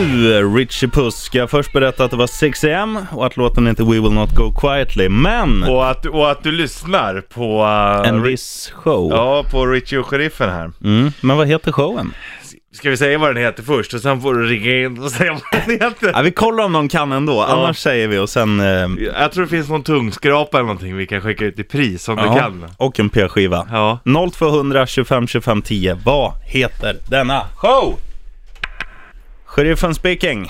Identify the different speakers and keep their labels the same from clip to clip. Speaker 1: Nu, Richie Puss, ska jag först berätta att det var 6 am och att låten heter We Will Not Go Quietly, men
Speaker 2: Och att, och att du lyssnar på... eh,
Speaker 1: en
Speaker 2: Ri-
Speaker 1: viss show.
Speaker 2: Ja, på Richie och Sheriffen här.
Speaker 1: Mm. Men vad heter showen?
Speaker 2: Ska vi säga vad den heter först och sen får du ringa in och säga vad den heter?
Speaker 1: Ja, vi kollar om någon kan ändå, annars säger vi och sen... Eh,
Speaker 2: Jag tror det finns någon tungskrapa eller någonting vi kan skicka ut i pris om du
Speaker 1: ja,
Speaker 2: kan.
Speaker 1: och en p-skiva.
Speaker 2: Ja.
Speaker 1: 0200 25 25 10. Vad heter denna show? Sheriffen speaking.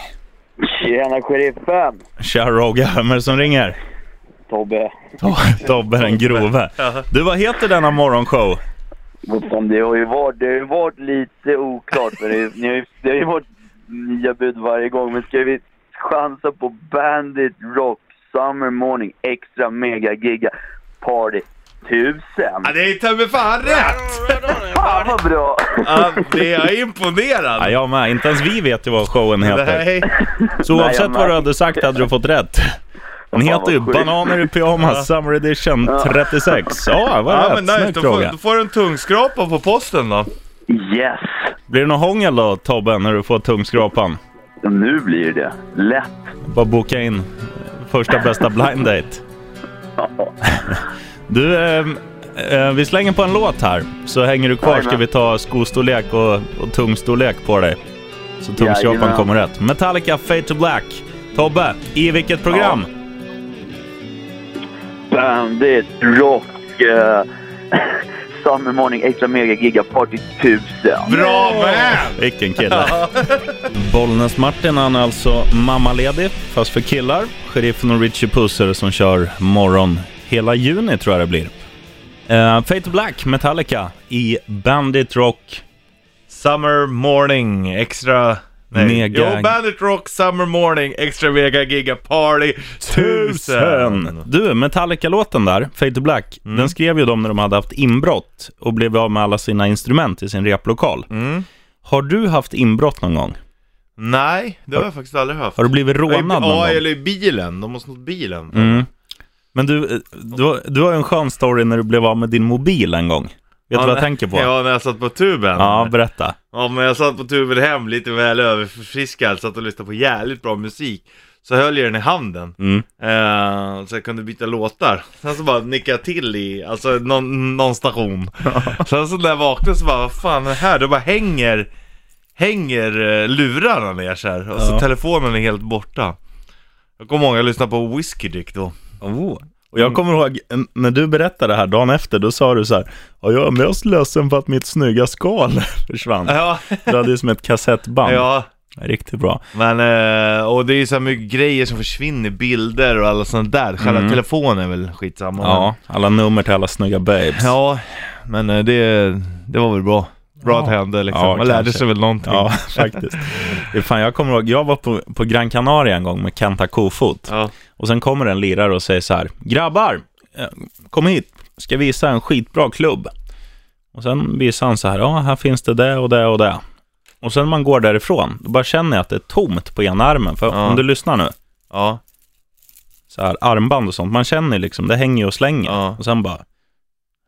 Speaker 3: Tjena sheriffen!
Speaker 1: Tja Roger, vem är det som ringer?
Speaker 3: Tobbe.
Speaker 1: To- Tobbe den grove. Du, vad heter denna morgonshow?
Speaker 3: Gottsson, det har ju varit, det har ju varit lite oklart för det, ni har ju, det har ju varit nya bud varje gång. Men ska vi chansa på Bandit Rock Summer Morning Extra Mega Giga Party 1000?
Speaker 2: Ja, det är ta mig fan rätt!
Speaker 3: Fan vad bra!
Speaker 2: Ja, det är jag
Speaker 1: Ja,
Speaker 2: imponerad.
Speaker 1: jag med. Inte ens vi vet ju vad showen heter.
Speaker 2: Nej.
Speaker 1: Så
Speaker 3: Nej,
Speaker 1: oavsett
Speaker 3: jag med.
Speaker 1: vad du hade sagt hade du fått rätt. Den
Speaker 3: Fan,
Speaker 1: heter ju
Speaker 3: vad sjukt.
Speaker 1: Bananer i pyjamas Summer Edition 36. Ja, vad
Speaker 2: Ja,
Speaker 1: var
Speaker 2: men
Speaker 1: rätt.
Speaker 2: nice.
Speaker 1: Snygg
Speaker 2: Då får,
Speaker 1: fråga.
Speaker 2: då får du en tungskrapa på posten då.
Speaker 3: Yes!
Speaker 1: Blir det någon hångel då Tobbe, när du får tungskrapan?
Speaker 3: Nu blir det lätt.
Speaker 1: Bara boka in första bästa blind date. Du, ehm, eh, vi slänger på en låt här. Så hänger du kvar ska
Speaker 3: Jajamän.
Speaker 1: vi ta skostorlek och, och tungstorlek på dig. Så tungskrapan
Speaker 3: Jajamän.
Speaker 1: kommer rätt. Metallica, Fade to Black. Tobbe, i vilket program?
Speaker 3: Bandit Rock eh, Summer Morning Extra Mega Giga Party 1000.
Speaker 2: Bra man!
Speaker 1: Vilken kille. Bollnäs-Martin han är alltså mammaledig, fast för killar. Sheriffen och Richie Puss är det som kör morgon hela juni tror jag det blir. Uh, Fate Black, Metallica i Bandit Rock.
Speaker 2: Summer morning extra... Nej.
Speaker 1: Mega-
Speaker 2: Jo, Bandit Rock Summer morning extra mega giga party tusen.
Speaker 1: Du, Metallica-låten där, Fate to Black,
Speaker 2: Mm.
Speaker 1: den skrev ju de när de hade haft inbrott och blev av med alla sina instrument i sin replokal.
Speaker 2: Mm.
Speaker 1: Har du haft inbrott någon gång?
Speaker 2: Nej, det har jag faktiskt aldrig haft.
Speaker 1: Har du blivit rånad någon
Speaker 2: Ja,
Speaker 1: gång? Mm,
Speaker 2: eller i bilen. De har snott bilen.
Speaker 1: Men du, eh, du, du har ju en skön story när du blev av med din mobil en gång. Vet du vad jag
Speaker 2: när-
Speaker 1: tänker på?
Speaker 2: Ja, när jag satt på tuben.
Speaker 1: Ja, berätta.
Speaker 2: Ja, men jag satt på tuben hem lite väl överförfriskad, satt och lyssnade på jävligt bra musik. Så höll jag den i handen,
Speaker 1: Mm.
Speaker 2: eh, så jag kunde byta låtar. Sen så bara nickade jag till i, alltså någon, någon station. Sen så när jag vaknade så bara, vad fan är det här? Då bara hänger, hänger eh, lurarna ner så här. Och så
Speaker 1: Ja.
Speaker 2: telefonen är helt borta. Jag kommer ihåg, jag lyssnade på Whiskey Dick då.
Speaker 1: Oh. Och jag kommer ihåg eh, när du berättade det här dagen efter, då sa du så här, "Ja, jag är mest ledsen för att mitt snygga skal försvann.
Speaker 2: Ja,
Speaker 1: Du hade ju som ett kassettband.
Speaker 2: ja.
Speaker 1: Riktigt bra.
Speaker 2: Men, eh, och det är ju så här mycket grejer som försvinner, bilder och alla sånt där. Själva telefonen är väl skitsamma.
Speaker 1: Mm. Ja, alla nummer till alla snygga babes.
Speaker 2: Ja, men eh, det, det var väl bra. Bra att det hände liksom.
Speaker 1: Ja,
Speaker 2: Man lärde
Speaker 1: kanske.
Speaker 2: sig väl någonting.
Speaker 1: Ja, faktiskt. Det är Fan, jag kommer ihåg, jag var på, på Gran Canaria en gång med Kenta Kofot.
Speaker 2: Ja.
Speaker 1: Och sen kommer en lirare och säger så här, grabbar, eh, kom hit, ska visa en skitbra klubb. Och sen visar han så här, ja, här finns det det och det och det. Och sen när man går därifrån, då bara känner jag att det är tomt på ena armen. För
Speaker 2: Ja.
Speaker 1: om du lyssnar nu,
Speaker 2: ja.
Speaker 1: så här armband och sånt, man känner liksom, det hänger ju och slänger.
Speaker 2: Ja.
Speaker 1: Och sen bara,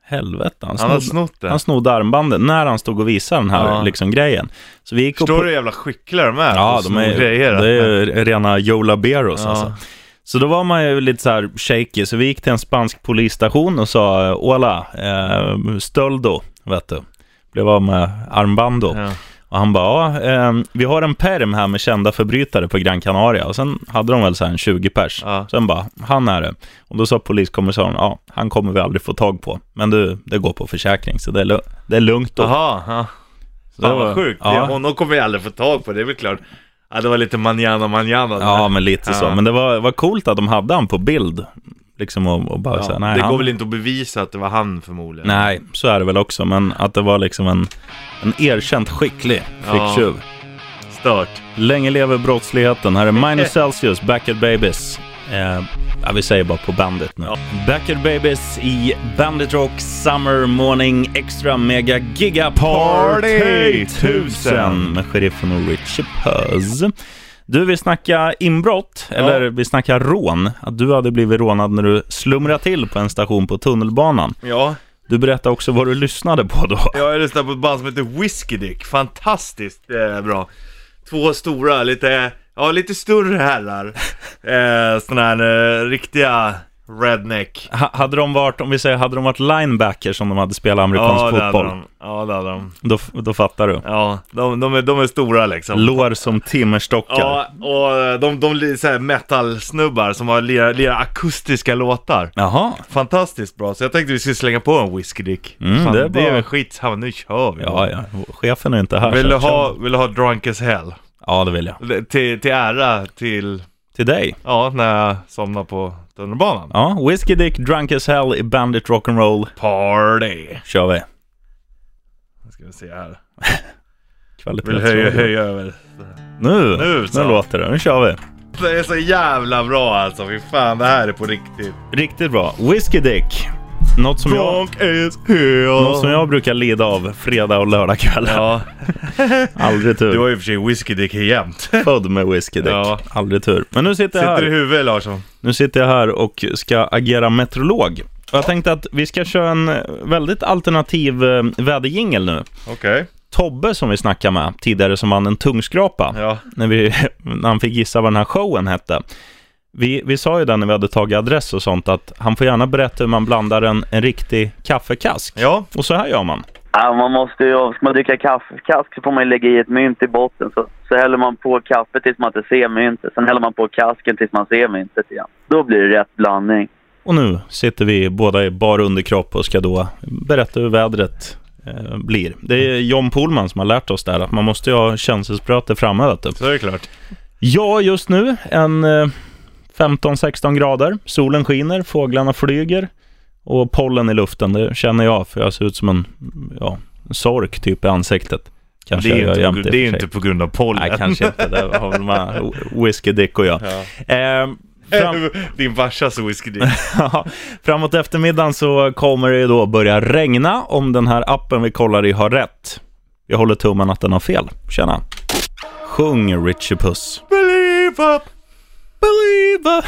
Speaker 1: helvete, han
Speaker 2: Han har
Speaker 1: snodde,
Speaker 2: snott det.
Speaker 1: han snodde armbandet när han stod och visade den här
Speaker 2: Ja.
Speaker 1: liksom, grejen. Så vi gick och
Speaker 2: Förstår du hur jävla skickliga de är? på
Speaker 1: Ja,
Speaker 2: att
Speaker 1: de
Speaker 2: sno
Speaker 1: är,
Speaker 2: grejer.
Speaker 1: det är rena Jola Beros
Speaker 2: Ja.
Speaker 1: alltså. Så då var man ju lite så här shaky, så vi gick till en spansk polisstation och sa Ola, eh, stöldo, vet du. Blev av med armbando.
Speaker 2: Ja.
Speaker 1: Och han bara, ja, eh, vi har en perm här med kända förbrytare på Gran Canaria. Och sen hade de väl så här en 20 pers.
Speaker 2: Ja.
Speaker 1: Sen bara, han är det. Och då sa poliskommissarien, ja, han kommer vi aldrig få tag på. Men du, det går på försäkring, så det är, lu- det är lugnt då.
Speaker 2: Jaha, ja.
Speaker 1: det
Speaker 2: Fan
Speaker 1: var-
Speaker 2: vad sjukt.
Speaker 1: ja.
Speaker 2: Ja. Honom kommer jag aldrig få tag på, det är väl klart. Ja, det var lite manjana manjana.
Speaker 1: Ja, men lite så.
Speaker 2: Ja.
Speaker 1: Men det var, var coolt att de hade han på bild. Liksom och, och bara
Speaker 2: Ja,
Speaker 1: så här, nej,
Speaker 2: det
Speaker 1: han,
Speaker 2: går väl inte att bevisa att det var han förmodligen.
Speaker 1: Nej, så är det väl också. Men att det var liksom en, en erkänt skicklig ficktjuv.
Speaker 2: Stört.
Speaker 1: Länge lever brottsligheten. Här är Minus Celsius, Backyard Babies. Eh, ja, vi säger bara på bandet nu. Backyard Babies i Bandit Rock Summer Morning Extra Mega Giga Party
Speaker 2: Party
Speaker 1: 1000 med sheriffen och Richie Puss. Du, vi snacka inbrott, eller vi snackar rån. Att du hade blivit rånad när du slumrade till på en station på tunnelbanan.
Speaker 2: Ja.
Speaker 1: Du berättade också vad du lyssnade på då.
Speaker 2: Jag har lyssnat på ett band som heter Whiskey Dick, fantastiskt eh, bra två stora, lite, ja lite större herrar. Eh, såna här eh, riktiga redneck.
Speaker 1: Ha, hade de varit, om vi säger, hade de varit linebackers som de hade spelat amerikansk
Speaker 2: Ja det hade
Speaker 1: fotboll,
Speaker 2: de. Ja det hade de.
Speaker 1: då, f- då fattar du.
Speaker 2: Ja, de, de, är, de är stora liksom.
Speaker 1: Lår som timmerstockar.
Speaker 2: Ja, och eh, de, de li- så här metal-snubbar som har lirat lira akustiska låtar.
Speaker 1: Jaha.
Speaker 2: Fantastiskt bra, så jag tänkte vi skulle slänga på en whiskydick.
Speaker 1: Mm,
Speaker 2: Fan,
Speaker 1: det
Speaker 2: det
Speaker 1: är
Speaker 2: är,
Speaker 1: bra.
Speaker 2: skitsamma, nu kör vi.
Speaker 1: Ja, ja. Chefen är inte här.
Speaker 2: Vill
Speaker 1: så
Speaker 2: du
Speaker 1: jag
Speaker 2: ha, vill du ha drunk as hell?
Speaker 1: känner- Ja, det vill jag.
Speaker 2: Det- Till, till ära till,
Speaker 1: Till dig.
Speaker 2: ja, när jag somnar på tunnelbanan.
Speaker 1: Ja, Whiskey Dick, Drunk as Hell i Bandit Rock'n'Roll.
Speaker 2: Party!
Speaker 1: Kör vi.
Speaker 2: Nu ska vi se här. Vill höja,
Speaker 1: Kvalitetsradio.
Speaker 2: höja över.
Speaker 1: Nu,
Speaker 2: Nu
Speaker 1: nu,
Speaker 2: så.
Speaker 1: låter det. Nu kör vi.
Speaker 2: Det är så jävla bra alltså, fy fan det här är på riktigt.
Speaker 1: Riktigt bra. Whiskey Dick. Något som, jag,
Speaker 2: Drunk as hell!
Speaker 1: något som jag brukar lida av fredag och lördagkvällar.
Speaker 2: Ja,
Speaker 1: Aldrig
Speaker 2: du
Speaker 1: tur.
Speaker 2: har ju i och för sig whiskydick jämt.
Speaker 1: Född med Whiskey Dick.
Speaker 2: Ja.
Speaker 1: Aldrig tur. Men nu sitter jag
Speaker 2: Sitter i
Speaker 1: här.
Speaker 2: huvudet Larsson.
Speaker 1: Nu sitter jag här och ska agera meteorolog. Och jag tänkte att vi ska köra en eh, väldigt alternativ eh, väderjingel nu.
Speaker 2: Okej.
Speaker 1: Tobbe som vi snackade med tidigare som vann en tungskrapa.
Speaker 2: Ja.
Speaker 1: när, vi, när han fick gissa vad den här showen hette. Vi, vi sa ju det när vi hade tagit adress och sånt att han får gärna berätta hur man blandar en, en riktig kaffekask.
Speaker 2: Ja.
Speaker 1: Och så här gör man.
Speaker 3: Ja, man måste ju, ska man dricka kaffekask så får man ju lägga i ett mynt i botten. Så, så häller man på kaffet tills man inte ser myntet. Sen häller man på kasken tills man ser myntet igen. Då blir det rätt blandning.
Speaker 1: Och nu sitter vi båda i bar underkropp och ska då berätta hur vädret eh, blir. Det är John Pohlman som har lärt oss det här, att man måste ju ha känselspröte framme. Vet du.
Speaker 2: Så är det klart.
Speaker 1: Ja, just nu en eh, 15-16 grader. Solen skiner, fåglarna flyger och pollen i luften. Det känner jag, för jag ser ut som en ja, en sork typ i ansiktet. Kanske
Speaker 2: Det
Speaker 1: jag
Speaker 2: är,
Speaker 1: gör
Speaker 2: inte,
Speaker 1: jämt i och
Speaker 2: det är
Speaker 1: för sig.
Speaker 2: inte på grund av pollen.
Speaker 1: Nej, kanske inte. Det har väl med Whiskey Dick och jag. Eh, fram,
Speaker 2: Din farsas whisky
Speaker 1: ja, framåt eftermiddagen så kommer det ju då börja regna om den här appen vi kollar i har rätt. Jag håller tummen att den har fel. Tjena! Sjung Richie Puss.
Speaker 2: Believe up
Speaker 1: Believe.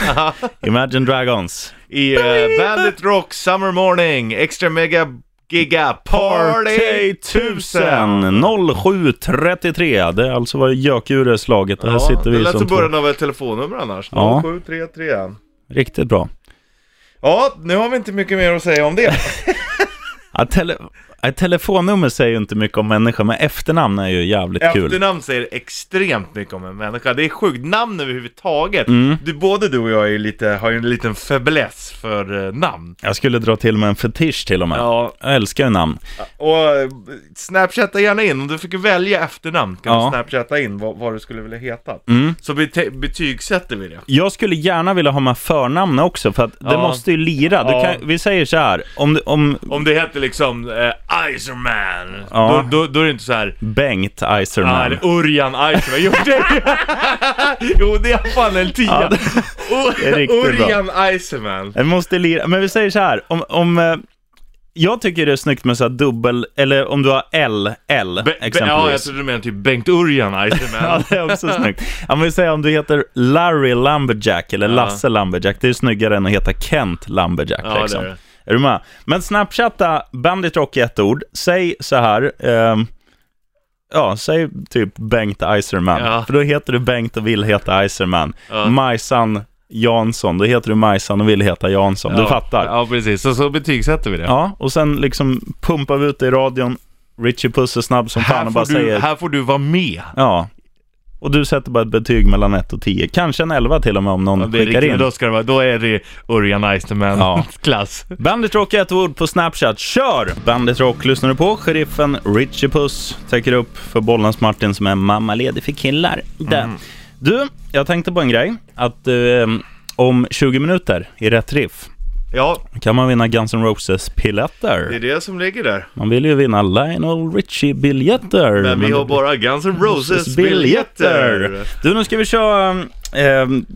Speaker 1: Imagine Dragons.
Speaker 2: I uh, Bandit Rock Summer Morning Extra Mega Giga Party 1000
Speaker 1: 0733. Det är alltså vad Gökure slaget. Och här sitter
Speaker 2: det
Speaker 1: vi
Speaker 2: lät
Speaker 1: som
Speaker 2: som
Speaker 1: två.
Speaker 2: början av ett telefonnummer annars.
Speaker 1: Ja.
Speaker 2: 0733.
Speaker 1: Riktigt bra.
Speaker 2: Ja, nu har vi inte mycket mer att säga om det.
Speaker 1: Ja, tele... ja, Telefonnummer säger ju inte mycket om människor, men efternamn är ju jävligt kul.
Speaker 2: Efternamn säger extremt mycket om en människa. Det är sjukt. Namn överhuvudtaget.
Speaker 1: Mm.
Speaker 2: Du, både du och jag är ju lite, har ju en liten fäbless för eh, namn.
Speaker 1: Jag skulle dra till med en fetisch till och med.
Speaker 2: Ja,
Speaker 1: Jag älskar ju namn.
Speaker 2: och eh, snapchatta gärna in. Om du fick välja efternamn kan
Speaker 1: Ja.
Speaker 2: du snapchatta in vad, vad du skulle vilja heta.
Speaker 1: Mm.
Speaker 2: Så bete- betygsätter vi det.
Speaker 1: Jag skulle gärna vilja ha med förnamn också, för att det
Speaker 2: Ja.
Speaker 1: måste ju lira. Du
Speaker 2: Ja.
Speaker 1: kan... Vi säger så här, om, du- om
Speaker 2: Om det heter liksom eh, Iserman,
Speaker 1: Ja.
Speaker 2: då, då, då är det inte så här.
Speaker 1: Bengt
Speaker 2: Ah,
Speaker 1: Iserman.
Speaker 2: eller Urjan Iserman. Jo, det, jo, det är fan en
Speaker 1: Ja,
Speaker 2: tia.
Speaker 1: det- det är riktigt bra.
Speaker 2: Urjan Iserman.
Speaker 1: Jag måste lira. Men vi säger så här, om, om eh, jag tycker det är snyggt med så här dubbel, eller om du har L, L
Speaker 2: Be- be- ja, jag
Speaker 1: exempelvis.
Speaker 2: trodde du menade typ Bengt Urjan Iserman.
Speaker 1: Ja, det är också snyggt. Ja, men vi säger om du heter Larry Lumberjack eller Lasse Lumberjack, det är ju snyggare än att heta Kent Lumberjack.
Speaker 2: Ja, det är
Speaker 1: liksom.
Speaker 2: det.
Speaker 1: Är du med? Men snapchatta Bandit Rock i ett ord, säg så här, ehm, ja, säg typ Bengt Iserman,
Speaker 2: Ja.
Speaker 1: för då heter du Bengt och vill heta Iserman.
Speaker 2: Ja.
Speaker 1: Majsan Jansson, då heter du Majsan och vill heta Jansson. Du
Speaker 2: Ja,
Speaker 1: fattar.
Speaker 2: Ja, precis. Så, så betygsätter vi det.
Speaker 1: Ja, och sen liksom pumpar vi ut det i radion. Richie Puss är snabb som fan
Speaker 2: här,
Speaker 1: och bara
Speaker 2: får du,
Speaker 1: säger...
Speaker 2: här får du vara med.
Speaker 1: Ja. Och du sätter bara ett betyg mellan 1 och 10. Kanske en 11 till och med om någon
Speaker 2: Ja, det är
Speaker 1: skickar
Speaker 2: riktigt,
Speaker 1: in.
Speaker 2: Då, ska det vara, då är det Urjan Isterman
Speaker 1: Ja.
Speaker 2: klass.
Speaker 1: Bandit Rock är ett ord på Snapchat. Kör! Bandit Rock lyssnar du på. Sheriffen Richie Puss täcker upp för Bollnäs Martin som är mammaledig för killar. Det.
Speaker 2: Mm.
Speaker 1: Du, jag tänkte på en grej. Att eh, om 20 minuter i rätt riff
Speaker 2: Ja,
Speaker 1: kan man vinna Guns N' Roses-piletter.
Speaker 2: det är det som ligger där.
Speaker 1: Man vill ju vinna Lionel Richie-biljetter.
Speaker 2: Men vi har bara Guns N' Roses-biljetter.
Speaker 1: Du, nu ska vi köra... ehm,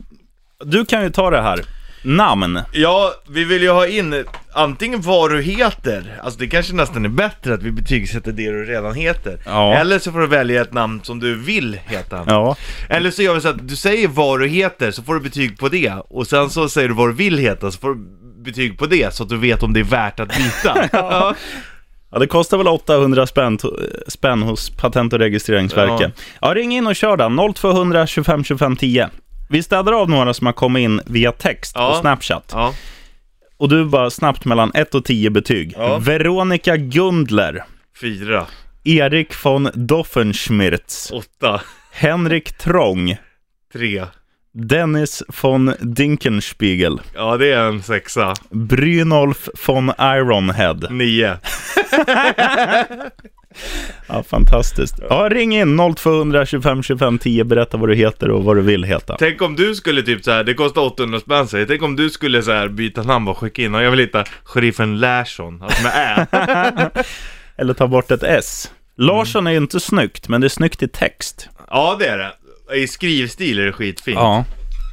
Speaker 1: du kan ju ta det här. Namn.
Speaker 2: Ja, vi vill ju ha in antingen vad du heter, alltså det kanske nästan är bättre att vi betygsätter det du redan heter.
Speaker 1: Ja.
Speaker 2: Eller så får du välja ett namn som du vill heta.
Speaker 1: Ja.
Speaker 2: Eller så gör vi så att du säger vad du heter, så får du betyg på det. Och sen så säger du vad du vill heta, så får du betyg på det, så att du vet om det är värt att byta. ja.
Speaker 1: Ja, det kostar väl 800 spänn, spänn hos Patent och registreringsverket. Ja. ring in och kör den. 0200 25 25 10. Vi städar av några som har kommit in via text
Speaker 2: Ja.
Speaker 1: på Snapchat.
Speaker 2: Ja.
Speaker 1: Och du bara snabbt mellan 1 och 10 betyg.
Speaker 2: Ja.
Speaker 1: Veronica Gundler,
Speaker 2: Fyra.
Speaker 1: Erik von Doffenschmirtz,
Speaker 2: Åtta.
Speaker 1: Henrik Trång,
Speaker 2: Tre.
Speaker 1: Dennis von Dinkenspiegel,
Speaker 2: Ja, det är en sexa.
Speaker 1: Brynolf von Ironhead.
Speaker 2: Nio.
Speaker 1: Ja, fantastiskt. Ja, ring in 0200 25 25 10. Berätta vad du heter och vad du vill heta.
Speaker 2: Tänk om du skulle typ så här, det kostar 800 spänn säger jag. Tänk om du skulle så här byta namn och skicka in och jag vill hitta sheriffen Larsson, alltså med Ä.
Speaker 1: Eller ta bort ett S. Larsson är ju inte snyggt, men det är snyggt i text.
Speaker 2: ja, det är det. I skrivstil är det skitfint.
Speaker 1: Ja,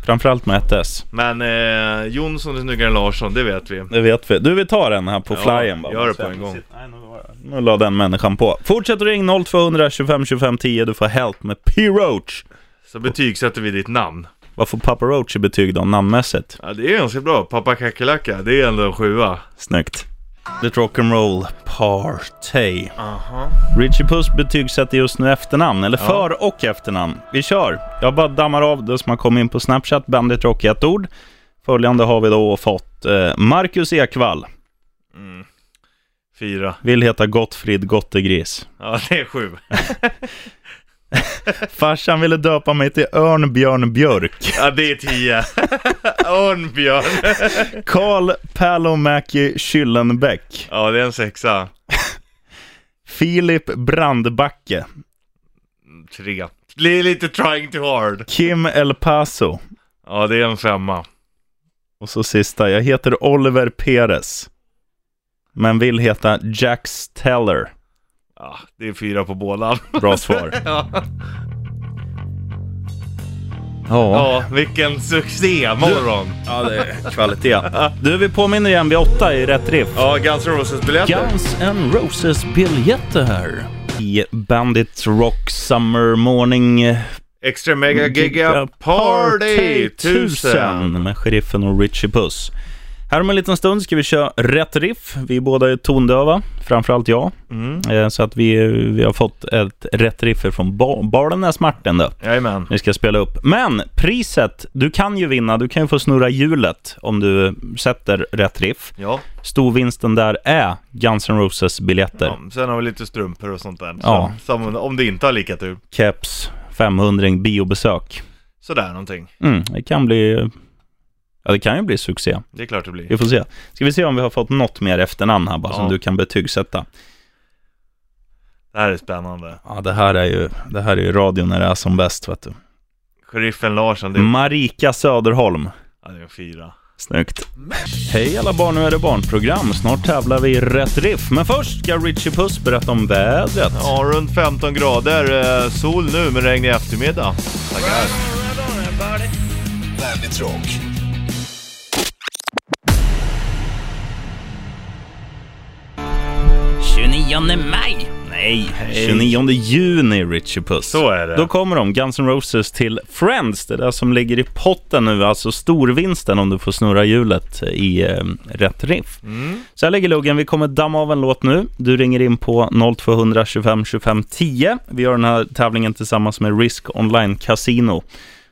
Speaker 1: framförallt med ett S.
Speaker 2: Men eh, Jonsson är snyggare än Larsson, det vet vi.
Speaker 1: Det vet vi. Du, vi tar den här på
Speaker 2: Ja,
Speaker 1: flyen bara.
Speaker 2: gör det på en gång.
Speaker 1: Nej, nu, var det- nu la den människan på. Fortsätt att ring 0200 25 25 10. Du får help med P. Roach.
Speaker 2: Så betygsätter vi ditt namn.
Speaker 1: Vad får Papa Roach i betyg då, namnmässigt?
Speaker 2: Ja, det är ganska bra. Pappa Kackerlacka, det är ändå en sjua.
Speaker 1: Snyggt. The Rock'n'Roll Party. Richie Puss betygsätter just nu efternamn, eller för och efternamn. Vi kör! Jag bara dammar av det som har kommit in på Snapchat, Bandit Rock i ett ord. Följande har vi då fått eh, Marcus Ekvall,
Speaker 2: Fyra.
Speaker 1: vill heta Gottfrid Gottegris.
Speaker 2: Ja, det är sju.
Speaker 1: Farsan ville döpa mig till Örn Björn Björk.
Speaker 2: Ja, det är tio. Örnbjörn.
Speaker 1: Karl Palomäki Kyllenbäck.
Speaker 2: Ja, det är en sexa.
Speaker 1: Filip Brandbacke.
Speaker 2: Tre. Det är lite trying too hard.
Speaker 1: Kim El Paso.
Speaker 2: Ja, det är en femma.
Speaker 1: Och så sista, jag heter Oliver Perez. Men vill heta Jax Teller.
Speaker 2: Ja, det är fyra på båda.
Speaker 1: Bra svar.
Speaker 2: Ja.
Speaker 1: Ja,
Speaker 2: Ja, vilken succé morgon.
Speaker 1: ja det är kvalitet. Du, vi påminner igen vid åtta i rätt riff.
Speaker 2: Ja, Guns N' Roses-biljetter.
Speaker 1: Guns N' Roses-biljetter. I Bandit Rock Summer Morning
Speaker 2: Extra mega
Speaker 1: Mm,
Speaker 2: giga party tusen.
Speaker 1: med sheriffen och Richie Puss. Här om en liten stund ska vi köra rätt riff. Vi båda är tondöva, framförallt jag.
Speaker 2: Mm.
Speaker 1: Eh, Så att vi, vi har fått ett rätt riff från ba- Barnäs-Martin då.
Speaker 2: Jajamän.
Speaker 1: Vi ska spela upp. Men priset, du kan ju vinna. Du kan ju få snurra hjulet om du sätter rätt riff.
Speaker 2: Ja.
Speaker 1: Storvinsten där är Guns N' Roses-biljetter.
Speaker 2: ja. Sen har vi lite strumpor och sånt där. Sen,
Speaker 1: Ja.
Speaker 2: som, om det inte har lika tur.
Speaker 1: Keps, 500 biobesök.
Speaker 2: Sådär någonting.
Speaker 1: Mm, det kan bli... Ja, det kan ju bli succé.
Speaker 2: Det är klart det blir.
Speaker 1: Vi får se. Ska vi se om vi har fått något mer efternamn här bara,
Speaker 2: Ja.
Speaker 1: som du kan betygsätta.
Speaker 2: Det här är spännande.
Speaker 1: Ja, det här är ju, det här är ju radio när det är som bäst, vet du.
Speaker 2: Sheriffen Larsson,
Speaker 1: Mm.
Speaker 2: det är,
Speaker 1: Marika Söderholm.
Speaker 2: ja, det är en fyra.
Speaker 1: Snyggt. Hej alla barn, nu är det barnprogram. Snart tävlar vi i Rätt Riff. Men först ska Richie Puss berätta om vädret.
Speaker 2: Ja, runt 15 grader. eh, Sol nu, men regn i eftermiddag.
Speaker 4: Bandit Rock.
Speaker 1: Nej, 29 juni Richie Puss.
Speaker 2: Så är det.
Speaker 1: Då kommer de, Guns N' Roses till Friends. Det där som ligger i potten nu, alltså storvinsten om du får snurra hjulet i eh, rätt riff.
Speaker 2: Mm.
Speaker 1: Så här ligger luggen, vi kommer damma av en låt nu. Du ringer in på 0200 25 25 10. Vi gör den här tävlingen tillsammans med Risk Online Casino.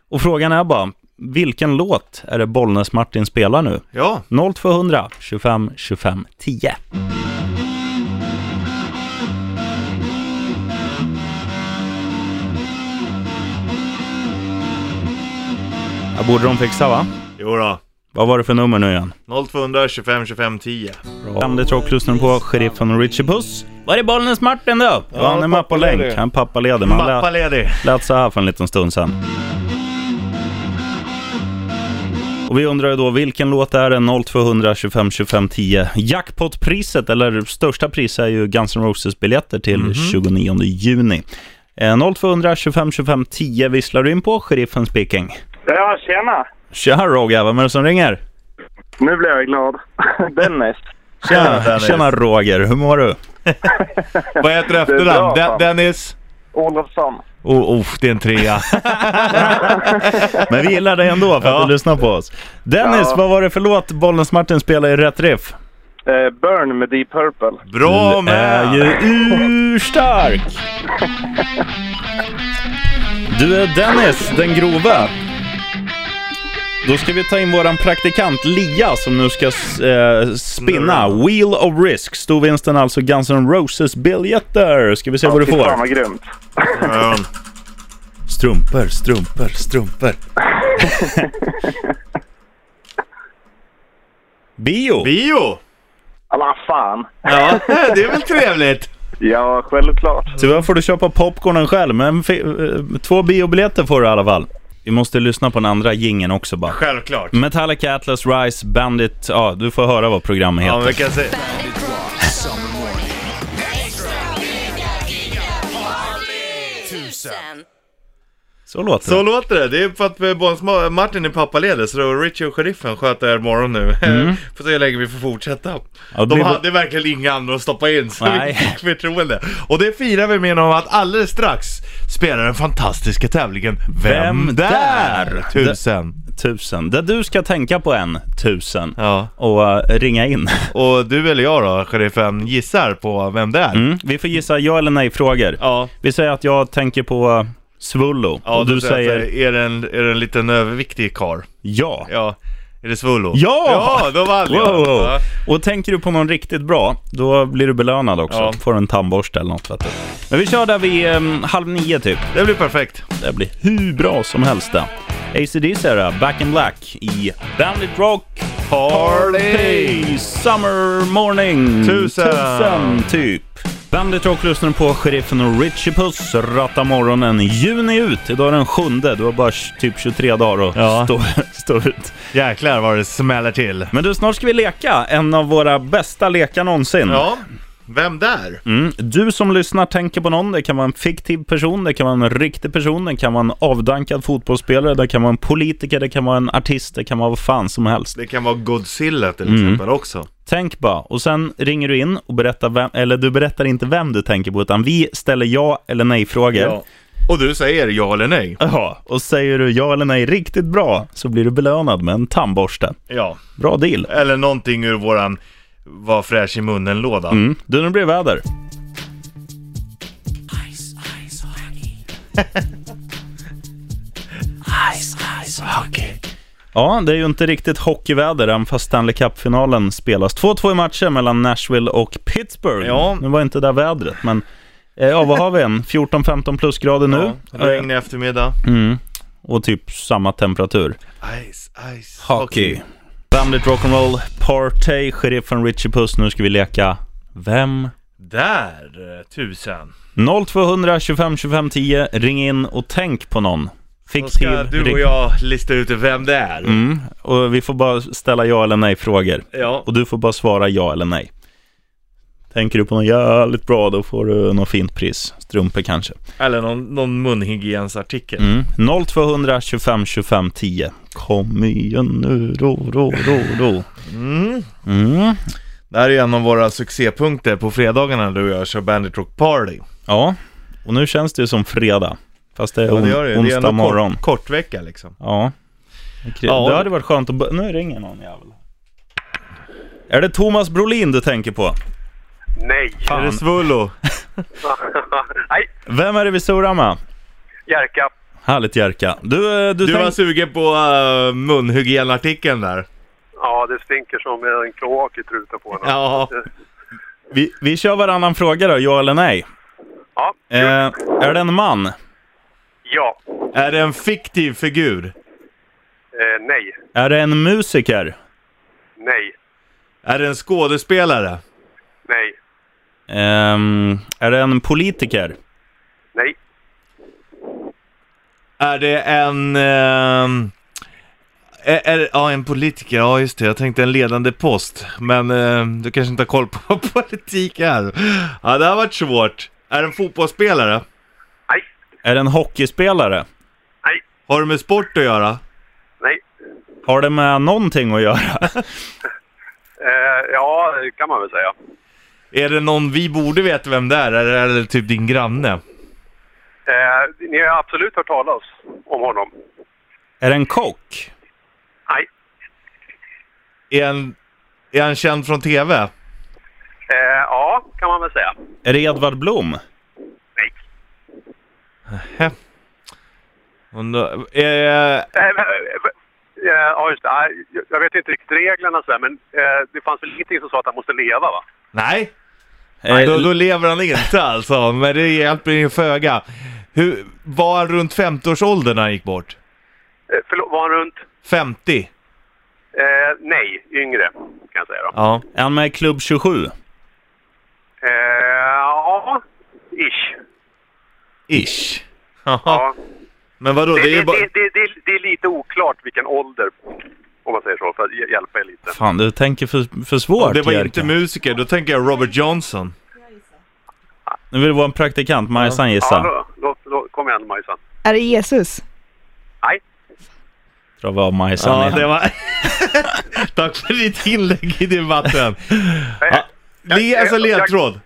Speaker 1: Och frågan är bara, vilken låt är det Bollnäs-Martin spelar nu?
Speaker 2: Ja,
Speaker 1: 0200 25 25 10. Här borde de fixa va?
Speaker 2: jo då.
Speaker 1: Vad var det för nummer nu igen?
Speaker 2: 0200 25 25 10.
Speaker 1: Bandit Rock lyssnar du på, sheriffen och Richie Puss. Var är Bollnäs Martin då? Ja, han är med på länk. Han är pappaledig. Man lät,
Speaker 2: Mappaledig.
Speaker 1: lät så här för en liten stund sedan. Och vi undrar ju då, vilken låt är det? 0200 25 25 10. Jackpotpriset, eller största pris, är ju Guns N' Roses-biljetter till
Speaker 2: Mhm.
Speaker 1: 29 juni. Eh, 0200 25 25 10 visslar du in på, sheriffen speaking.
Speaker 5: Ja, tjena!
Speaker 1: Tja Roger, vem är det som ringer?
Speaker 5: Nu blir jag glad. Dennis.
Speaker 1: Tjena,
Speaker 2: Dennis.
Speaker 1: tjena Roger, hur mår du?
Speaker 2: Vad heter
Speaker 5: bra,
Speaker 2: efternamn? De-
Speaker 5: fan.
Speaker 2: Dennis?
Speaker 5: Olofsson.
Speaker 2: Oh, oh, det är en trea.
Speaker 1: Men vi gillar dig ändå för att
Speaker 2: Ja.
Speaker 1: du lyssnar på oss. Dennis,
Speaker 5: Ja.
Speaker 1: vad var det för låt Bollens Martin spelade i Rätt Riff?
Speaker 5: Eh, Burn med Deep Purple.
Speaker 2: Bra
Speaker 1: Du är
Speaker 2: med!
Speaker 1: ju urstark! Du är Dennis, den grova. Då ska vi ta in våran praktikant Lia som nu ska s- eh, spinna.
Speaker 5: Mm.
Speaker 1: Wheel of Risk. Storvinsten alltså Guns N' Roses-biljetter. Ska vi se vad du
Speaker 5: Fy Fan
Speaker 1: får.
Speaker 5: vad grymt.
Speaker 2: Björn.
Speaker 1: Strumpor, strumpor, strumpor. Bio!
Speaker 2: Bio!
Speaker 5: Ja, vad fan.
Speaker 2: Ja, det är väl trevligt?
Speaker 5: Ja, självklart.
Speaker 1: Tyvärr får du köpa popcornen själv, men fi- eh, två biobiljetter får du i alla fall. Vi måste lyssna på den andra gingen också bara.
Speaker 2: Självklart.
Speaker 1: Metallica, Atlas, Rise, Bandit. Ja, du får höra vad programmet
Speaker 2: Ja, men
Speaker 1: heter.
Speaker 2: vi kan säga...
Speaker 4: Bandit Rock. Summer morning. Extra. Tusen.
Speaker 1: Så låter
Speaker 2: Så
Speaker 1: det.
Speaker 2: låter det. Det är för att vi båda små- Martin är pappaledig, så då Richie och sheriffen sköter er morgon nu. får se hur länge vi får fortsätta.
Speaker 1: Mm. Ja, det
Speaker 2: De
Speaker 1: blir-
Speaker 2: hade verkligen inga andra att stoppa in, så vi
Speaker 1: Nej.
Speaker 2: fick förtroende. Och det firar vi med att alldeles strax spelar den fantastiska tävlingen Vem,
Speaker 1: Vem
Speaker 2: där?
Speaker 1: där?
Speaker 2: Tusen.
Speaker 1: Tusen. Det du ska tänka på en tusen.
Speaker 2: Ja.
Speaker 1: Och eh, ringa in.
Speaker 2: Och du eller jag då, sheriffen, gissar på vem det är?
Speaker 1: Mm. Vi får gissa ja eller nej-frågor.
Speaker 2: Ja.
Speaker 1: Vi säger att jag tänker på eh, Svullo.
Speaker 2: Ja,
Speaker 1: och du säger
Speaker 2: är det, en, är det en liten överviktig kar?
Speaker 1: ja.
Speaker 2: Ja. Är det Svullo?
Speaker 1: Ja!
Speaker 2: Ja, då vann jag!
Speaker 1: Wow.
Speaker 2: Ja.
Speaker 1: Och tänker du på någon riktigt bra, då blir du belönad också.
Speaker 2: Ja.
Speaker 1: Får en tandborste eller något vet du. Men vi kör där vid eh, halv nio typ.
Speaker 2: Det blir perfekt.
Speaker 1: Det blir hur bra som helst det. AC/DC är det, Back in Black i Bandit Rock Party Summer Morning
Speaker 2: Tusen.
Speaker 1: Tusen typ. Bandit Rock lyssnar på Sheriffen och Richie Puss. Ratta morgonen juni ut. Idag är den sjunde. Du har bara typ 23 dagar att
Speaker 2: Ja.
Speaker 1: stå, stå ut.
Speaker 2: Jäklar vad det smäller till.
Speaker 1: Men du, snart ska vi leka en av våra bästa lekar någonsin.
Speaker 2: Ja, vem där?
Speaker 1: Mm. Du som lyssnar tänker på någon. Det kan vara en fiktiv person, det kan vara en riktig person, det kan vara en avdankad fotbollsspelare, det kan vara en politiker, det kan vara en artist, det kan vara vad fan som helst.
Speaker 2: Det kan vara Godzilla till
Speaker 1: Mm.
Speaker 2: exempel också.
Speaker 1: Tänk bara, och sen ringer du in och berättar vem, eller du berättar inte vem du tänker på, utan vi ställer ja eller nej-frågor.
Speaker 2: Och du säger ja eller nej?
Speaker 1: Jaha, och säger du ja eller nej riktigt bra så blir du belönad med en tandborste.
Speaker 2: Ja.
Speaker 1: Bra deal.
Speaker 2: Eller någonting ur våran var fräsch i munnen-låda.
Speaker 1: Mm. Du, nu blir det väder. Ja, det är ju inte riktigt hockeyväder än fast Stanley Cup-finalen spelas. 2-2 i matchen mellan Nashville och Pittsburgh.
Speaker 2: Ja.
Speaker 1: Nu var inte det där vädret, men eh, ja, vad har vi än? 14-15 plusgrader nu. Eh,
Speaker 2: Ja, regn i eftermiddag.
Speaker 1: Och typ samma temperatur.
Speaker 2: Ice, ice,
Speaker 1: Bandit Rock'n'Roll, Partey, Sheriffen Richie Puss. Nu ska vi leka Vem
Speaker 2: Där, eh, tusen.
Speaker 1: 0200 25 25 10, ring in och tänk på någon.
Speaker 2: Då
Speaker 1: Fiktiv.
Speaker 2: ska du och
Speaker 1: ring-
Speaker 2: jag lista ut vem det är.
Speaker 1: Mm. Och vi får bara ställa ja eller nej frågor.
Speaker 2: Ja.
Speaker 1: Och du får bara svara ja eller nej. Tänker du på något jävligt bra, då får du något fint pris. Strumpor kanske.
Speaker 2: Eller någon, någon munhygiensartikel.
Speaker 1: Mm. 0200 25 25 10. Kom igen nu, då, då, då, då. Mm.
Speaker 2: Det här är en av våra succépunkter på fredagarna du och jag kör Bandit Rock Party.
Speaker 1: Ja, och nu känns det ju som fredag. Fast det är,
Speaker 2: Ja,
Speaker 1: on-
Speaker 2: det gör det. ju. Det är
Speaker 1: onsdag
Speaker 2: ändå
Speaker 1: morgon.
Speaker 2: Kort, kort vecka liksom.
Speaker 1: Ja.
Speaker 2: Ja.
Speaker 1: Det hade varit skönt att... bö- Nu ringer någon jävel. Är det Thomas Brolin du tänker på?
Speaker 6: Nej.
Speaker 2: Är det Svullo?
Speaker 6: Nej,
Speaker 1: Vem är det vi surrar med?
Speaker 6: Jerka.
Speaker 1: Härligt Jerka. Du, eh, du,
Speaker 2: Du var
Speaker 1: tänk...
Speaker 2: sugen på uh, munhygienartikeln där.
Speaker 6: Ja, det stinker som en kloak i truten på henne.
Speaker 2: Ja.
Speaker 1: vi, vi kör varannan fråga då, ja eller nej.
Speaker 6: Ja.
Speaker 1: Eh, är det en man?
Speaker 6: Ja.
Speaker 2: Är det en fiktiv figur?
Speaker 6: Eh, nej.
Speaker 1: Är det en musiker?
Speaker 6: Nej.
Speaker 2: Är det en skådespelare?
Speaker 6: Nej.
Speaker 1: Ehm, är det en politiker?
Speaker 6: Nej.
Speaker 2: Är det en... ehm, är, är, ja, en politiker. Ja, just det. Jag tänkte en ledande post. Men ehm, du kanske inte har koll på politik här. Ja, det har varit svårt. Är det en fotbollsspelare?
Speaker 6: Nej.
Speaker 1: Är det en hockeyspelare?
Speaker 6: Nej.
Speaker 2: Har det med sport att göra?
Speaker 6: Nej.
Speaker 1: Har det med någonting att göra?
Speaker 6: Eh, ja, det kan man väl säga.
Speaker 2: Är det någon vi borde veta vem det är? Eller, eller typ din granne?
Speaker 6: Eh, ni har absolut hört talas om honom.
Speaker 1: är det en kock?
Speaker 6: Nej.
Speaker 2: Är han, är han känd från TV?
Speaker 6: Eh, ja, kan man väl säga.
Speaker 1: Är det Edvard Blom?
Speaker 6: Nej.
Speaker 2: Undrar- eh,
Speaker 6: Eh, men, eh, eh, ja, just det. Nej, jag- Jag vet inte riktigt reglerna så här, men eh, det fanns väl ingenting som sa att han måste leva, va?
Speaker 2: nej,
Speaker 1: Eh,
Speaker 2: då, då lever han inte alltså. Men det hjälper ju föga. Hur, var han runt 50-årsåldern när han gick bort?
Speaker 6: Eh, förlåt, var han runt?
Speaker 2: 50?
Speaker 6: Eh, nej, yngre, kan jag säga då.
Speaker 2: Ja.
Speaker 1: Är han med i Klubb 27?
Speaker 6: Eh, ja, ish.
Speaker 2: Ish.
Speaker 6: Ja.
Speaker 2: Men vadå,
Speaker 6: Det,
Speaker 2: det är
Speaker 6: det,
Speaker 2: ju bara...
Speaker 6: det, det, det, det är lite oklart vilken ålder, om man säger så, för att hj- hjälpa er lite.
Speaker 1: Fan, du tänker för, för svårt,
Speaker 2: Det var
Speaker 1: Jerker.
Speaker 2: inte musiker, då tänker jag Robert Johnson.
Speaker 1: Nu vill vår praktikant Majsan
Speaker 6: Ja,
Speaker 1: gissa.
Speaker 6: då, då, då kom igen, Majsan.
Speaker 7: Är det Jesus?
Speaker 6: Nej.
Speaker 1: Dra av Majsan
Speaker 2: Ja,
Speaker 1: igen.
Speaker 2: det var... Tack för ditt inlägg i debatten.
Speaker 6: Eh,
Speaker 2: Det är alltså
Speaker 6: jag- jag-
Speaker 2: ledtråd.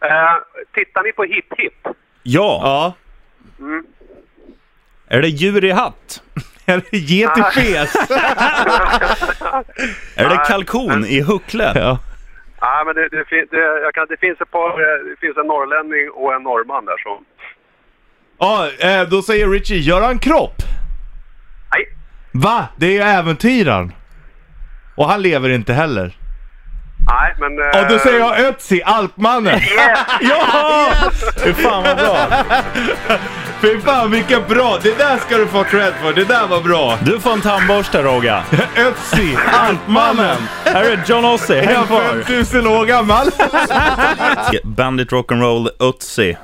Speaker 6: eh, tittar ni på Hip Hip?
Speaker 1: Ja,
Speaker 2: Ja.
Speaker 1: är det djur i hatt?
Speaker 2: Eller Get i fes.
Speaker 1: Är det kalkon i huckle?
Speaker 2: Ja.
Speaker 6: Nej, men det, det, fin- det, jag kan, det finns ett par, eh, det finns en norrlänning och en norrman där som...
Speaker 2: Ja, eh, då säger Richie, gör han kropp?
Speaker 6: Nej,
Speaker 2: Va? Det är ju äventyraren. Och han lever inte heller.
Speaker 6: nej men... eh,
Speaker 2: Ja, då säger jag Ötzi, alpmannen. Ja!
Speaker 1: Fy fan vad bra!
Speaker 2: Fy fan vilka bra! Det där ska du få cred för, det där var bra!
Speaker 1: Du får en tandborste Roga.
Speaker 2: Ötzi, alpmannen!
Speaker 1: Här är John Ossie,
Speaker 2: Är
Speaker 1: häng
Speaker 2: jag
Speaker 1: kvar!
Speaker 2: 5000 år gammal?
Speaker 1: Bandit Rock'n'Roll Ötzi.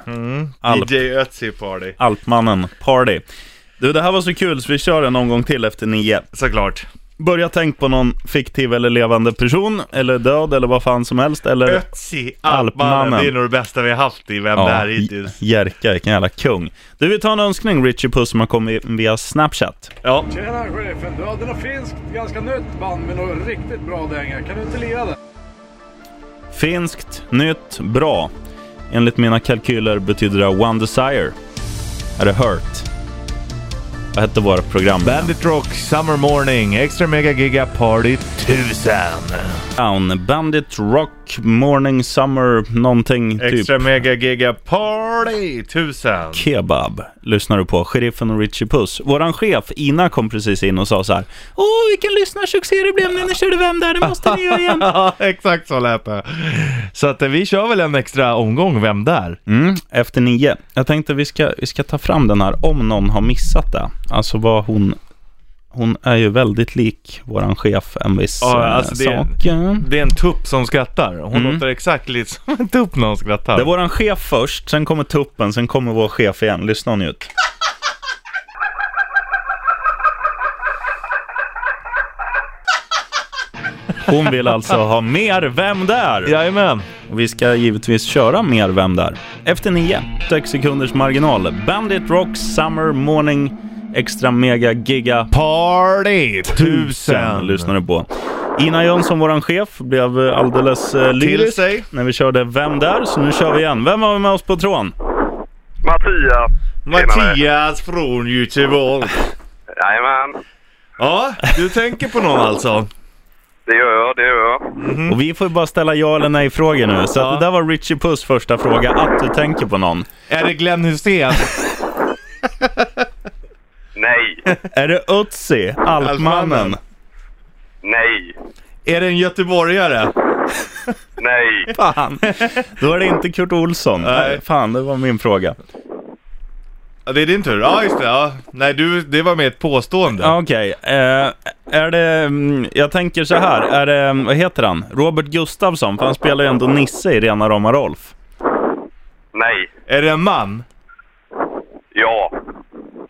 Speaker 1: Alp,
Speaker 2: DJ Ötzi party.
Speaker 1: Alpmannen Party. Du, det här var så kul så vi kör en omgång till efter nio.
Speaker 2: Såklart.
Speaker 1: Börja tänk på någon fiktiv eller levande person, eller död, eller vad fan som helst, eller...
Speaker 2: Ötzi,
Speaker 1: Alpmannen.
Speaker 2: alpmannen. Det är nog det bästa vi har haft i Vem där
Speaker 1: J-
Speaker 2: hittills.
Speaker 1: Jerka, vilken jävla kung. Du, vi tar en önskning, Richie Puss, som har kommit via Snapchat.
Speaker 2: Ja.
Speaker 8: Tjena chefen, du hade något finskt, ganska nytt band med några riktigt bra dänga. Kan du inte lira det?
Speaker 1: Finskt, nytt, bra. Enligt mina kalkyler betyder det One Desire. Är det Hurt? Vad hette vårt program?
Speaker 2: Bandit Rock, Summer Morning, Extra Mega Giga Party 1000.
Speaker 1: Down, Bandit Rock, Morning Summer, någonting
Speaker 2: Extra
Speaker 1: typ.
Speaker 2: Mega Giga Party 1000.
Speaker 1: Kebab lyssnar du på, sheriffen och Richie Puss. Våran chef Ina kom precis in och sa så här. Åh, vilken lyssnarsuccé det blev när ni körde Vem där? Det måste ni göra igen.
Speaker 2: Ja, exakt så lät det. Så att eh, vi kör väl en extra omgång Vem där?
Speaker 1: Mm, efter nio. Jag tänkte vi ska, vi ska ta fram den här om någon har missat det. Alltså vad hon... Hon är ju väldigt lik våran chef en viss
Speaker 2: Ja,
Speaker 1: eh,
Speaker 2: alltså det-
Speaker 1: sak. eh.
Speaker 2: Det är en tupp som skrattar. Hon låter exakt lite som en tupp när hon skrattar.
Speaker 1: Det är våran chef först, sen kommer tuppen, sen kommer vår chef igen. Lyssna och njut. Hon vill alltså ha mer Vem där?
Speaker 2: Jajamän.
Speaker 1: Och vi ska givetvis köra mer Vem där? Efter nio, sex sekunders marginal. Bandit Rock Summer Morning Extra Mega Giga
Speaker 2: Party 1000.
Speaker 1: lyssnar du på. Ina Jönsson, våran chef, blev eh, alldeles eh,
Speaker 2: Till
Speaker 1: lyrisk
Speaker 2: sig.
Speaker 1: när vi körde Vem där? Så nu kör vi igen. Vem har vi med oss på tråden?
Speaker 6: Mattias.
Speaker 2: Mattias från Göteborg.
Speaker 6: Jajamän,
Speaker 2: Ja, du tänker på någon alltså?
Speaker 6: det gör jag, det gör jag.
Speaker 1: Och vi får ju bara ställa ja eller nej-frågor nu. Så att det där var Richie Puss första fråga, att du tänker på någon.
Speaker 2: Är det Glenn Hussein?
Speaker 6: Nej,
Speaker 1: Är det Ötzi, Alpmannen?
Speaker 2: Alpmannen.
Speaker 6: nej,
Speaker 2: Är det en göteborgare?
Speaker 6: nej.
Speaker 1: Fan! Då är det inte Kurt Olsson.
Speaker 2: Nej.
Speaker 1: Nej. Fan, det var min fråga.
Speaker 2: Ja, det är din tur. Ja, just det. Ja. Nej, du, det var med ett påstående.
Speaker 1: Ja, Okej, eh, är det... mm, Jag tänker så här, är det... mm, Vad heter han? Robert Gustafsson, för han spelar ju ändå Nisse i Rena rama Rolf.
Speaker 6: Nej,
Speaker 2: Är det en man?
Speaker 6: ja,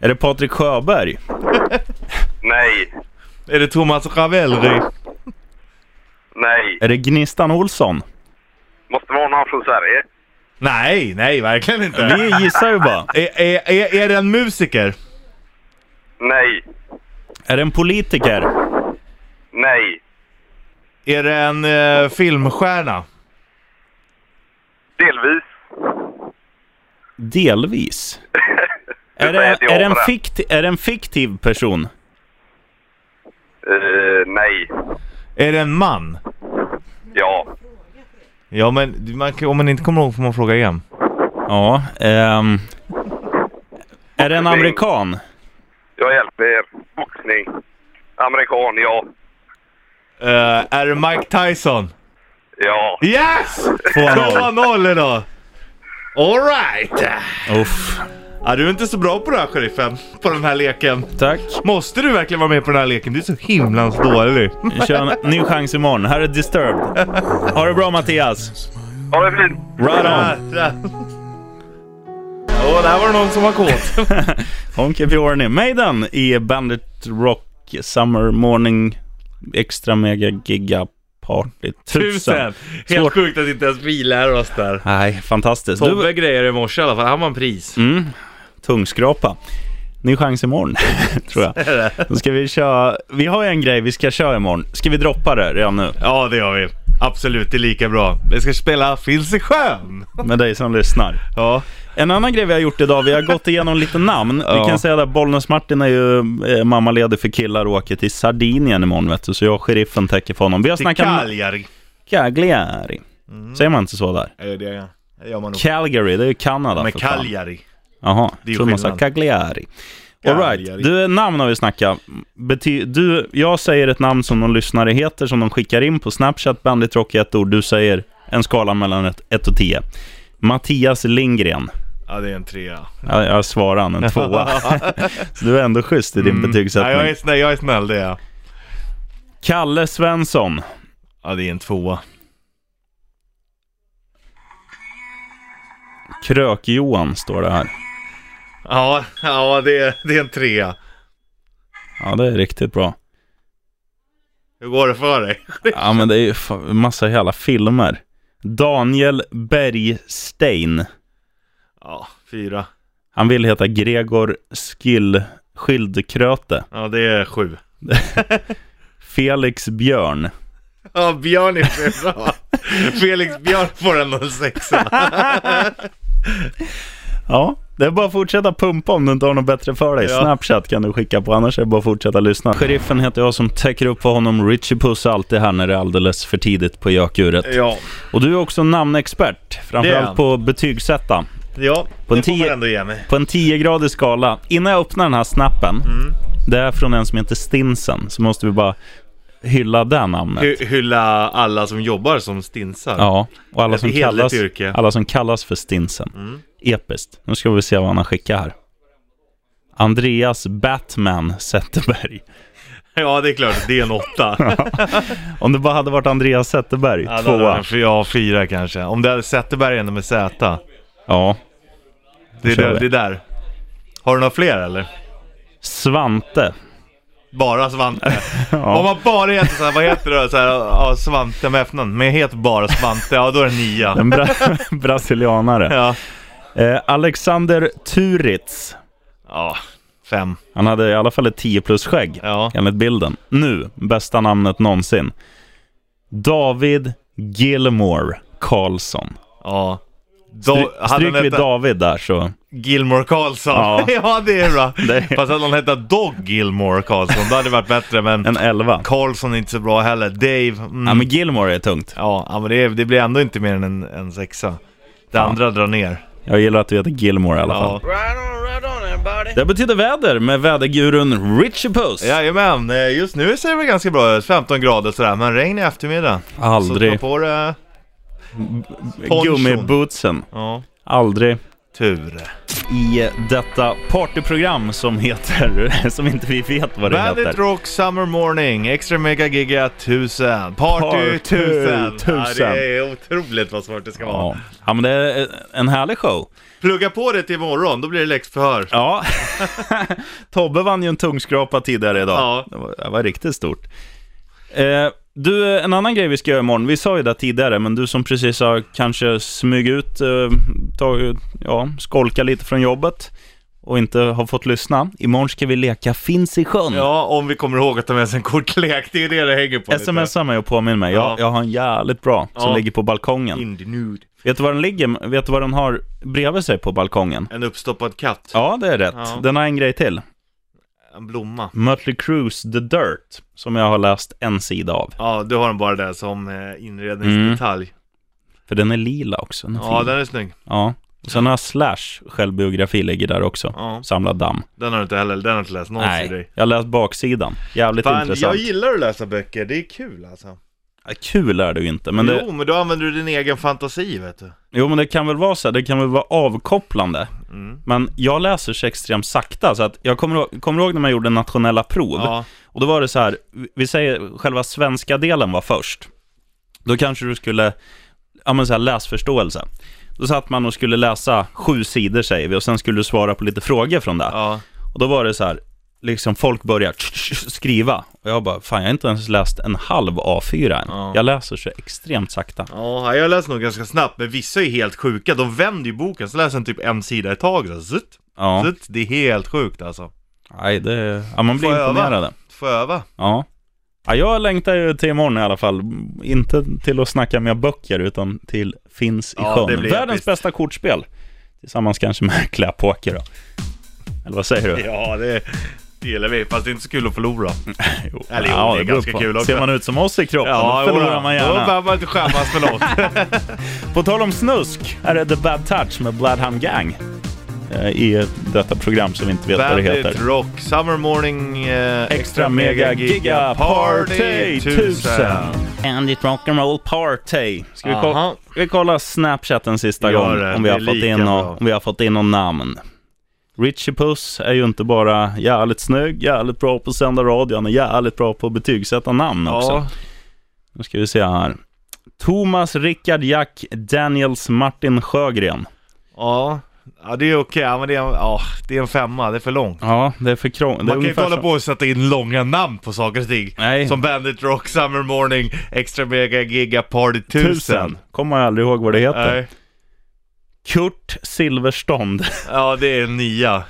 Speaker 1: Är det Patrik Sjöberg?
Speaker 6: nej,
Speaker 2: Är det Thomas Ravelry?
Speaker 6: nej.
Speaker 1: Är det Gnistan Olsson?
Speaker 6: Måste vara någon från Sverige.
Speaker 2: Nej, nej, verkligen inte.
Speaker 1: Vi gissar ju bara.
Speaker 2: Är, är, är, är det en musiker?
Speaker 6: Nej,
Speaker 1: Är det en politiker?
Speaker 6: nej.
Speaker 2: Är det en eh, filmstjärna?
Speaker 6: Delvis.
Speaker 1: Delvis.
Speaker 6: Jag
Speaker 1: Är det,
Speaker 6: säger att jag
Speaker 1: är, det en
Speaker 6: hoppar där.
Speaker 1: fiktiv, är det en fiktiv person?
Speaker 6: Eh, nej,
Speaker 2: Är det en man?
Speaker 6: ja,
Speaker 2: Ja men man, kan- om man inte kommer ihåg får man fråga igen.
Speaker 1: Ja. ehm. är det en amerikan?
Speaker 6: Jag hjälper er. Boxning. Amerikan, ja.
Speaker 2: Eh, är det Mike Tyson?
Speaker 6: Ja.
Speaker 2: Yes!
Speaker 1: 2-0.
Speaker 2: 2-0 idag! Alright!
Speaker 1: Uff.
Speaker 2: Ja, du är inte så bra på det här sheriffen, på den här leken.
Speaker 1: Tack.
Speaker 2: Måste du verkligen vara med på den här leken? Du är så himlans dålig.
Speaker 1: Kör en ny chans imorgon. Här är Disturbed. Ha det bra Mattias.
Speaker 6: Ha det fint!
Speaker 1: Right on.
Speaker 2: Åh, där var det någon som var kåt.
Speaker 1: Honky Bjorny. Maiden i Bandit Rock Summer Morning Extra Mega Giga Party 1000.
Speaker 2: Tusen! Helt
Speaker 1: Svårt.
Speaker 2: sjukt att inte ens vi lär oss där.
Speaker 1: Nej, fantastiskt. Du, Mm.
Speaker 2: Tobbe grejer i morse i alla fall, han vann pris.
Speaker 1: tungskrapa. Ny chans imorgon, tror jag. Då ska vi köra. Vi har ju en grej vi ska köra imorgon. Ska vi droppa det redan nu?
Speaker 2: Ja, det gör vi. Absolut, det är lika bra. Vi ska spela Finns i sjön.
Speaker 1: Med dig som lyssnar.
Speaker 2: Ja.
Speaker 1: En annan grej vi har gjort idag, vi har gått igenom lite namn.
Speaker 2: Ja.
Speaker 1: Vi kan säga att Bollnäs-Martin är ju eh, mammaledig för killar och åker till Sardinien imorgon vet du. Så jag och sheriffen täcker för honom. Vi har
Speaker 2: Till Mm.
Speaker 1: snackat...
Speaker 2: Cagliari.
Speaker 1: Cagliari. Säger man inte så där?
Speaker 2: Ja, det gör man nog.
Speaker 1: Calgary, det är ju Kanada
Speaker 2: Men
Speaker 1: för fan.
Speaker 2: Cagliari.
Speaker 1: Jaha,
Speaker 2: Det är ju
Speaker 1: tror man sa
Speaker 2: skillnad.
Speaker 1: Cagliari. All
Speaker 2: Cagliari.
Speaker 1: right. Du, namn har vi snackat. Bety- du, jag säger ett namn som någon lyssnare heter, som de skickar in på Snapchat, Bandit Rock i ett ord. Du säger en skala mellan 1 och 10. Mattias Lindgren.
Speaker 2: Ja, det är en trea.
Speaker 1: Jag, jag svarar han en tvåa. Så du är ändå schysst i din
Speaker 2: Ja,
Speaker 1: betygssättning.
Speaker 2: Mm. jag är snäll, jag är snäll det är jag.
Speaker 1: Kalle Svensson.
Speaker 2: Ja, det är en tvåa.
Speaker 1: Krök-Johan står det här.
Speaker 2: Ja, ja det, är, det är en trea.
Speaker 1: Ja, det är riktigt bra.
Speaker 2: Hur går det för dig?
Speaker 1: Ja, men det är ju fa- massa jävla filmer. Daniel Bergstein.
Speaker 2: Ja, fyra.
Speaker 1: Han vill heta Gregor Skyll Skyldkröte.
Speaker 2: Ja, det är sju.
Speaker 1: Felix Björn.
Speaker 2: Ja, Björn är för bra. Felix Björn får ändå en sexa.
Speaker 1: Ja, det är bara att fortsätta pumpa om du inte har något bättre för dig.
Speaker 2: Ja.
Speaker 1: Snapchat kan du skicka på, annars är det bara att fortsätta lyssna. Sheriffen heter jag som täcker upp för honom. Richie Puss är alltid här när det är alldeles för tidigt på gökuret.
Speaker 2: Ja,
Speaker 1: Och du är också namnexpert,
Speaker 2: Det är
Speaker 1: framförallt
Speaker 2: han.
Speaker 1: på betygssätta.
Speaker 2: ja
Speaker 1: På en
Speaker 2: det får man
Speaker 1: tio-
Speaker 2: ändå ge mig.
Speaker 1: På en 10-gradig skala, innan jag öppnar den här snappen,
Speaker 2: Mm.
Speaker 1: det är från en som heter Stinsen, så måste vi bara hylla det namnet.
Speaker 2: Hy- hylla alla som jobbar som stinsar.
Speaker 1: Ja, och alla
Speaker 2: Ett
Speaker 1: som,
Speaker 2: hederligt
Speaker 1: kallas,
Speaker 2: yrke. Mm.
Speaker 1: alla som kallas för Stinsen. Episkt. Nu ska vi se vad han har skickat här. Andreas Batman Zetterberg.
Speaker 2: Ja, det är klart. Det är en åtta.
Speaker 1: Om det bara hade varit Andreas Zetterberg,
Speaker 2: Ja, det hade varit
Speaker 1: tvåa.
Speaker 2: en fyra- Ja, fyra kanske. Om det hade Zetterberg ändå med Z.
Speaker 1: Ja.
Speaker 2: Det är,
Speaker 1: kör
Speaker 2: där, det
Speaker 1: vi.
Speaker 2: är där. Har du några fler eller?
Speaker 1: Svante.
Speaker 2: Bara Svante.
Speaker 1: Ja.
Speaker 2: Om man bara heter såhär, vad heter du? Såhär, ja, Svante med efternamn. Men jag heter bara Svante, ja då är det nia.
Speaker 1: En bra brasilianare.
Speaker 2: Ja.
Speaker 1: Eh, Alexander Turitz.
Speaker 2: ja, fem.
Speaker 1: Han hade i alla fall ett 10 plus skägg,
Speaker 2: Ja.
Speaker 1: enligt bilden. Nu, bästa namnet någonsin. David Gilmore Karlsson.
Speaker 2: Ja. Då,
Speaker 1: Stryk,
Speaker 2: hade
Speaker 1: stryk
Speaker 2: han
Speaker 1: vi
Speaker 2: hetat
Speaker 1: David där så...
Speaker 2: Gilmore Karlsson? Ja.
Speaker 1: Ja.
Speaker 2: det är bra.
Speaker 1: Det-
Speaker 2: Fast hade han hetat Dog Gilmore Karlsson, då hade det varit bättre. Men
Speaker 1: En elva.
Speaker 2: Karlsson är inte så bra heller. Dave, mm.
Speaker 1: Ja, men Gilmore är tungt.
Speaker 2: ja, ja, men det, är- det blir ändå inte mer än en, en sexa. Det andra drar ner.
Speaker 1: Jag gillar att du heter Gilmore i alla
Speaker 2: Ja.
Speaker 1: fall. Det betyder väder med vädergurun Richie Puss.
Speaker 2: Jajamän, eh, just nu ser det väl ganska bra ut, 15 grader sådär, men regn i eftermiddag. Så
Speaker 1: Aldrig.
Speaker 2: ta på det, ponchon.
Speaker 1: Gummibootsen.
Speaker 2: ja,
Speaker 1: Aldrig.
Speaker 2: tur.
Speaker 1: I detta partyprogram som heter, som inte vi vet vad det
Speaker 2: Bandit
Speaker 1: heter.
Speaker 2: Rock Summer Morning, Extra Mega Giga 1000, Party
Speaker 1: Party
Speaker 2: 1000. Ja,
Speaker 1: 1000.
Speaker 2: det är otroligt vad svårt det ska vara.
Speaker 1: Ja. ja, men det är en härlig show.
Speaker 2: Plugga på det till imorgon, då blir det läxförhör.
Speaker 1: Ja. Tobbe vann ju en tungskrapa tidigare idag.
Speaker 2: Ja.
Speaker 1: Det, var, det var riktigt stort. Eh, du, en annan grej vi ska göra imorgon. Vi sa ju det tidigare, men du som precis har kanske smyg ut, eh, ta, ja, skolka lite från jobbet och inte har fått lyssna. Imorgon ska vi leka Finns i sjön.
Speaker 2: Ja, om vi kommer ihåg att ta med sig en kortlek, det är det det hänger på. lite.
Speaker 1: Smsa mig och påminn mig. Jag,
Speaker 2: Ja.
Speaker 1: jag har en jävligt bra som
Speaker 2: Ja.
Speaker 1: ligger på balkongen.
Speaker 2: In the nude.
Speaker 1: Vet du vad den ligger? Vet du vad den har bredvid sig på balkongen?
Speaker 2: En uppstoppad katt.
Speaker 1: Ja, det är rätt.
Speaker 2: Ja.
Speaker 1: Den har en grej till.
Speaker 2: En blomma.
Speaker 1: Mötley Crues The Dirt, som jag har läst en sida av.
Speaker 2: Ja, du har den bara där som eh, inredningsdetalj.
Speaker 1: För För den är lila också. Den är
Speaker 2: Ja,
Speaker 1: fin.
Speaker 2: den är snygg.
Speaker 1: ja. Och sen har Slash självbiografi ligger där också.
Speaker 2: Ja.
Speaker 1: Samlad damm.
Speaker 2: Den har du inte heller, den har jag inte läst någonsin.
Speaker 1: Nej,
Speaker 2: Nej.
Speaker 1: jag har läst baksidan. Jävligt
Speaker 2: Fan,
Speaker 1: intressant.
Speaker 2: jag gillar att läsa böcker, det är kul alltså.
Speaker 1: Ja, Kul är det ju inte, men det,
Speaker 2: Jo, men då använder du din egen fantasi vet du.
Speaker 1: jo men det kan väl vara så här, det kan väl vara avkopplande.
Speaker 2: Mm.
Speaker 1: Men jag läser så extremt sakta, så att jag kommer, ihåg- kommer ihåg när man gjorde nationella prov.
Speaker 2: Ja.
Speaker 1: Och då var det så här, vi- vi säger själva svenska delen var först. Då kanske du skulle, ja men så här läsförståelse. Då satt man och skulle läsa sju sidor säger vi och sen skulle du svara på lite frågor från det.
Speaker 2: Ja.
Speaker 1: Och då var det så här, liksom folk börjar skriva. Och jag bara, fan jag har inte ens läst en halv A4 än.
Speaker 2: Ja.
Speaker 1: Jag läser så extremt sakta.
Speaker 2: ja, jag läser nog ganska snabbt, men vissa är helt sjuka. De vänder ju boken, så läser den typ en sida i taget. så Zutt,
Speaker 1: Ja,
Speaker 2: zutt. Det är helt sjukt alltså.
Speaker 1: Nej, det, ja man blir
Speaker 2: Får jag öva?
Speaker 1: imponerad.
Speaker 2: Får jag öva?
Speaker 1: Ja. ja, jag längtar ju till imorgon i alla fall. Inte till att snacka mer böcker, utan till Finns i
Speaker 2: Ja, det
Speaker 1: sjön.
Speaker 2: blir
Speaker 1: Världens
Speaker 2: episkt.
Speaker 1: bästa kortspel. Tillsammans kanske med Kläpoker då. Eller vad säger du?
Speaker 2: Ja, det, det gillar vi. Fast det är inte så kul att förlora.
Speaker 1: Jo.
Speaker 2: Eller jo, det
Speaker 1: beror
Speaker 2: är ganska kul också.
Speaker 1: Ser man ut som oss i kroppen, då förlorar
Speaker 2: jodå.
Speaker 1: man
Speaker 2: Då
Speaker 1: gärna.
Speaker 2: behöver man inte skämmas för något.
Speaker 1: På tal om snusk, här är The Bad Touch med Bladham Gang. eh, I detta program som vi inte vet vad det heter.
Speaker 2: Bandit Rock Summer Morning eh,
Speaker 1: Extra Mega Giga Party 1000! Bandit Rock'n'Roll Party! Ska vi, kolla,
Speaker 2: Aha.
Speaker 1: ska vi kolla Snapchatten sista
Speaker 2: Gör
Speaker 1: gången
Speaker 2: det,
Speaker 1: om vi, har
Speaker 2: det är
Speaker 1: fått
Speaker 2: lika
Speaker 1: in
Speaker 2: bra.
Speaker 1: och, om vi har fått in någon namn. Richie Puss är ju inte bara jävligt snygg, jävligt bra på att sända radio, han är jävligt bra på att betygsätta namn också.
Speaker 2: Ja,
Speaker 1: Nu ska vi se här. Thomas, Rickard, Jack, Daniels, Martin Sjögren.
Speaker 2: ja. Ja det är okej, ja, men det är, en- ja, det är en femma, det är för långt.
Speaker 1: Ja, det är för krångligt.
Speaker 2: Man kan ju inte hålla på och sätta in långa namn på saker och ting.
Speaker 1: Nej.
Speaker 2: Som Bandit Rock, Summer Morning, Extra Mega Giga Party 1000.
Speaker 1: Tusen! Kommer jag aldrig ihåg vad det heter.
Speaker 2: Nej.
Speaker 1: Kurt Silverstånd.
Speaker 2: Ja, det är en nia.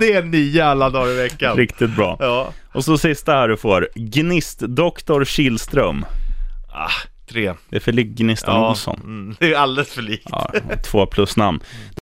Speaker 2: det är en nia alla dagar i veckan.
Speaker 1: Riktigt bra.
Speaker 2: Ja.
Speaker 1: Och så sista här du får. Gnistdoktor Kilström.
Speaker 2: Ah, tre.
Speaker 1: Det är för likt Gnistan
Speaker 2: Ja.
Speaker 1: Olsson.
Speaker 2: Mm, det är alldeles för likt.
Speaker 1: Ja, två plus namn.